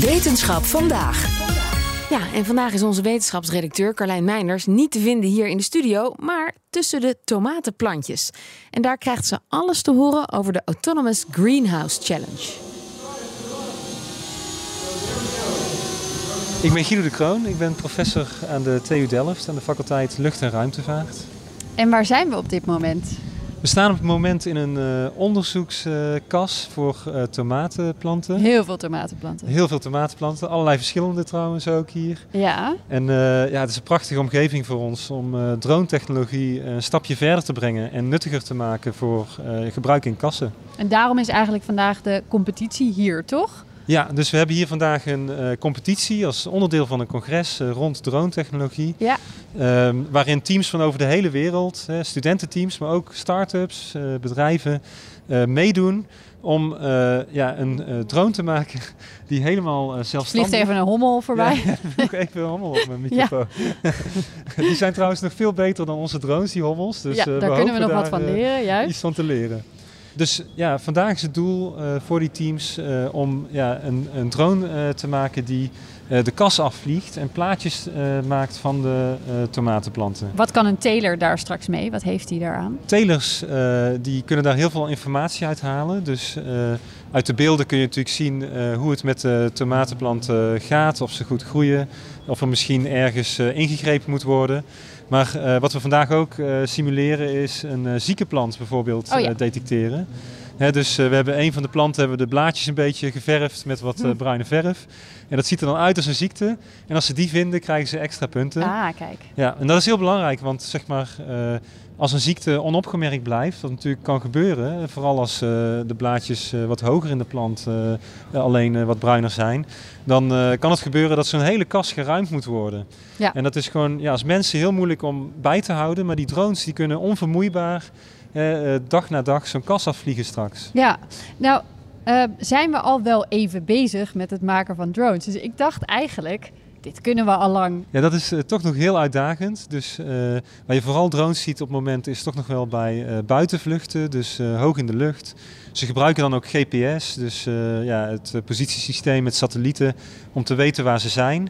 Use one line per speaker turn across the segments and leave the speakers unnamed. Wetenschap vandaag.
Ja, en vandaag is onze wetenschapsredacteur Carlijn Meinders niet te vinden hier in de studio, maar tussen de tomatenplantjes. En daar krijgt ze alles te horen over de Autonomous Greenhouse Challenge.
Ik ben Guido de Kroon, ik ben professor aan de TU Delft aan de faculteit Lucht- en Ruimtevaart.
En waar zijn we op dit moment?
We staan op het moment in een uh, onderzoekskas uh, voor uh, tomatenplanten.
Heel veel tomatenplanten.
Heel veel tomatenplanten, allerlei verschillende trouwens ook hier.
Ja.
En eh, ja, het is een prachtige omgeving voor ons om eh, drone-technologie een stapje verder te brengen en nuttiger te maken voor eh, gebruik in kassen.
En daarom is eigenlijk vandaag de competitie hier, toch?
Ja, dus we hebben hier vandaag een uh, competitie als onderdeel van een congres uh, rond drone-technologie.
Ja.
Um, waarin teams van over de hele wereld, hè, studententeams, maar ook start-ups, uh, bedrijven, eh, meedoen om eh, ja, een drone te maken die helemaal eh, zelfstandig...
Vliegt even een hommel voorbij.
Ja, ik even een hommel op mijn microfoon. Ja. die zijn trouwens nog veel beter dan onze drones, die hommels. Dus,
ja, daar
we
kunnen we
daar,
nog
eh,
wat van leren, juist.
Iets van te leren. Dus ja, vandaag is het doel uh, voor die teams uh, om ja, een, een drone uh, te maken die eh, de kas afvliegt en plaatjes eh, maakt van de eh, tomatenplanten.
Wat kan een teler daar straks mee? Wat heeft hij daaraan?
Telers eh, die kunnen daar heel veel informatie uit halen. Dus uit de beelden kun je natuurlijk zien eh, hoe het met de tomatenplanten gaat, of ze goed groeien, of er misschien ergens eh, ingegrepen moet worden. Maar uh, wat we vandaag ook uh, simuleren is een uh, zieke plant bijvoorbeeld oh, ja. detecteren. Hè, dus we hebben een van de planten hebben de blaadjes een beetje geverfd met wat hm. bruine verf. En dat ziet er dan uit als een ziekte. En als ze die vinden, krijgen ze extra punten.
Ah, kijk.
Ja, en dat is heel belangrijk, want zeg maar, eh, als een ziekte onopgemerkt blijft, wat natuurlijk kan gebeuren, eh, vooral als de blaadjes eh, wat hoger in de plant eh, alleen wat bruiner zijn, dan eh, kan het gebeuren dat zo'n hele kas geruimd moet worden.
Ja.
En dat is gewoon ja, als mensen heel moeilijk om bij te houden, maar die drones die kunnen onvermoeibaar eh, dag na dag zo'n kas afvliegen straks.
Ja, nou uh, zijn we al wel even bezig met het maken van drones. Dus ik dacht eigenlijk, dit kunnen we al lang.
Ja, dat is uh, toch nog heel uitdagend. Dus uh, waar je vooral drones ziet op het moment is toch nog wel bij uh, buitenvluchten, dus hoog in de lucht. Ze gebruiken dan ook GPS, dus ja, het positiesysteem met satellieten, om te weten waar ze zijn.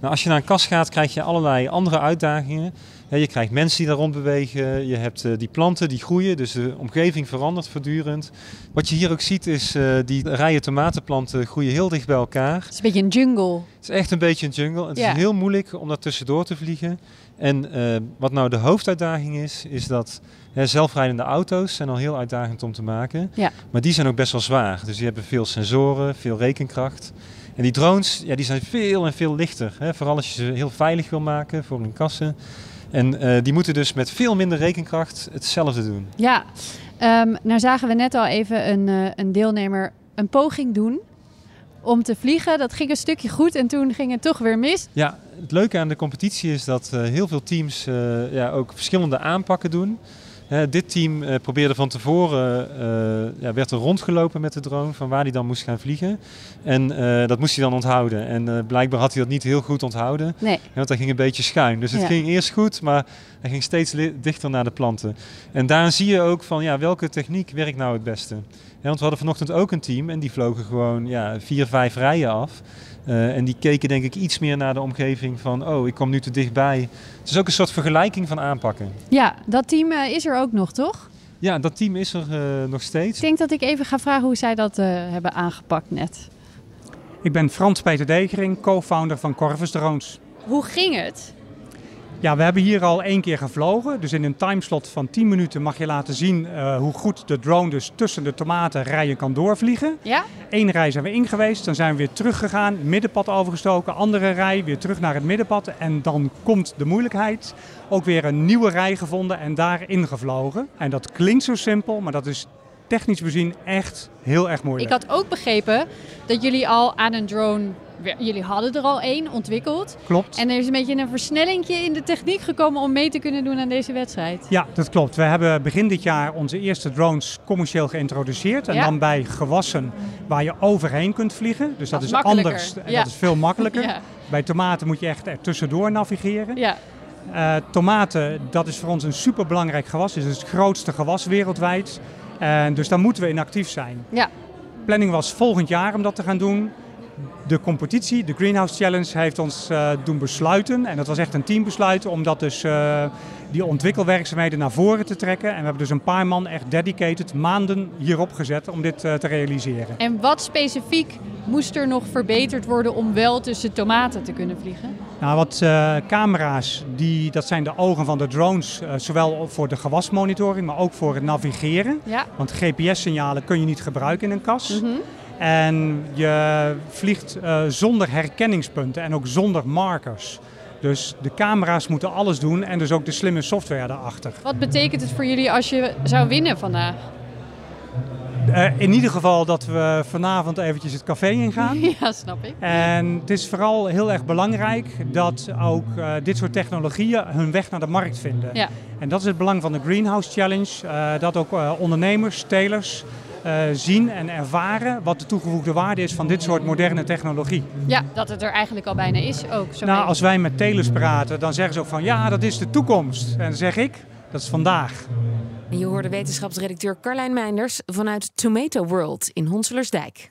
Nou, als je naar een kas gaat, krijg je allerlei andere uitdagingen. He, je krijgt mensen die daar rondbewegen, je hebt uh, die planten die groeien, dus de omgeving verandert voortdurend. Wat je hier ook ziet is, uh, die rijen tomatenplanten groeien heel dicht bij elkaar. Het
is een beetje een jungle.
Het is echt een beetje een jungle. Het ja. is heel moeilijk om daar tussendoor te vliegen. En uh, wat nou de hoofduitdaging is, is dat hè, zelfrijdende auto's zijn al heel uitdagend om te maken.
Ja.
Maar die zijn ook best wel zwaar. Dus die hebben veel sensoren, veel rekenkracht. En die drones, ja, die zijn veel en veel lichter. Hè? Vooral als je ze heel veilig wil maken voor hun kassen. En uh, die moeten dus met veel minder rekenkracht hetzelfde doen.
Ja, um, nou zagen we net al even een, uh, een, deelnemer een poging doen om te vliegen. Dat ging een stukje goed en toen ging het toch weer mis.
Ja, het leuke aan de competitie is dat uh, heel veel teams eh, ja, ook verschillende aanpakken doen. Hè, dit team eh, probeerde van tevoren, eh, ja, werd er rondgelopen met de drone van waar hij dan moest gaan vliegen. En eh, dat moest hij dan onthouden. En eh, blijkbaar had hij dat niet heel goed onthouden.
Nee.
want hij ging een beetje schuin. Dus het ja. ging eerst goed, maar hij ging steeds dichter naar de planten. En daarin zie je ook van ja, welke techniek werkt nou het beste. Ja, want we hadden vanochtend ook een team en die vlogen gewoon ja, vier, vijf rijen af. Uh, en die keken denk ik iets meer naar de omgeving van, oh, ik kom nu te dichtbij. Het is ook een soort vergelijking van aanpakken.
Ja, dat team uh, is er ook nog, toch?
Ja, dat team is er uh, nog steeds.
Ik denk dat ik even ga vragen hoe zij dat eh, hebben aangepakt net.
Ik ben Frans Peter Degering, co-founder van Corvus Drones.
Hoe ging het?
Ja, we hebben hier al één keer gevlogen. Dus in een timeslot van 10 minuten mag je laten zien uh, hoe goed de drone dus tussen de tomatenrijen kan doorvliegen.
Ja?
Eén rij zijn we in geweest, dan zijn we weer teruggegaan, middenpad overgestoken, andere rij, weer terug naar het middenpad. En dan komt de moeilijkheid. Ook weer een nieuwe rij gevonden en daarin gevlogen. En dat klinkt zo simpel, maar dat is technisch bezien echt heel erg mooi.
Ik
werk.
had ook begrepen dat jullie al aan een drone... Jullie hadden er al één ontwikkeld.
Klopt.
En er is een beetje een versnellingje in de techniek gekomen om mee te kunnen doen aan deze wedstrijd.
Ja, dat klopt. We hebben begin dit jaar onze eerste drones commercieel geïntroduceerd. En
Ja.
dan bij gewassen waar je overheen kunt vliegen. Dus
Dat
dat,
is
is
makkelijker.
anders en
Ja.
dat is veel makkelijker.
Ja.
Bij tomaten moet je echt er tussendoor navigeren.
Ja,
Eh, tomaten, dat is voor ons een superbelangrijk gewas. Het is het grootste gewas wereldwijd. En dus daar moeten we in actief zijn.
Ja.
Planning was volgend jaar om dat te gaan doen. De competitie, de Greenhouse Challenge, heeft ons eh, doen besluiten. En dat was echt een teambesluit om dat dus, eh, die ontwikkelwerkzaamheden naar voren te trekken. En we hebben dus een paar man echt dedicated maanden hierop gezet om dit eh, te realiseren.
en wat specifiek moest er nog verbeterd worden om wel tussen tomaten te kunnen vliegen?
Nou, wat eh, camera's, die, dat zijn de ogen van de drones, eh, zowel voor de gewasmonitoring, maar ook voor het navigeren.
Ja.
Want GPS-signalen kun je niet gebruiken in een kas. En je vliegt eh, zonder herkenningspunten en ook zonder markers. Dus de camera's moeten alles doen en dus ook de slimme software daarachter.
Wat betekent het voor jullie als je zou winnen vandaag?
Eh, in ieder geval dat we vanavond eventjes het café ingaan.
Ja, snap ik.
En het is vooral heel erg belangrijk dat ook eh, dit soort technologieën hun weg naar de markt vinden.
Ja.
En dat is het belang van de Greenhouse Challenge. eh, dat ook eh, ondernemers, telers eh, zien en ervaren wat de toegevoegde waarde is van dit soort moderne technologie.
Ja, dat het er eigenlijk al bijna is ook. Zo
Nou,
mee.
als wij met telers praten, dan zeggen ze ook van ja, dat is de toekomst. En dan zeg ik, dat is vandaag.
En je hoorde wetenschapsredacteur Carlijn Meinders vanuit Tomato World in Honselersdijk.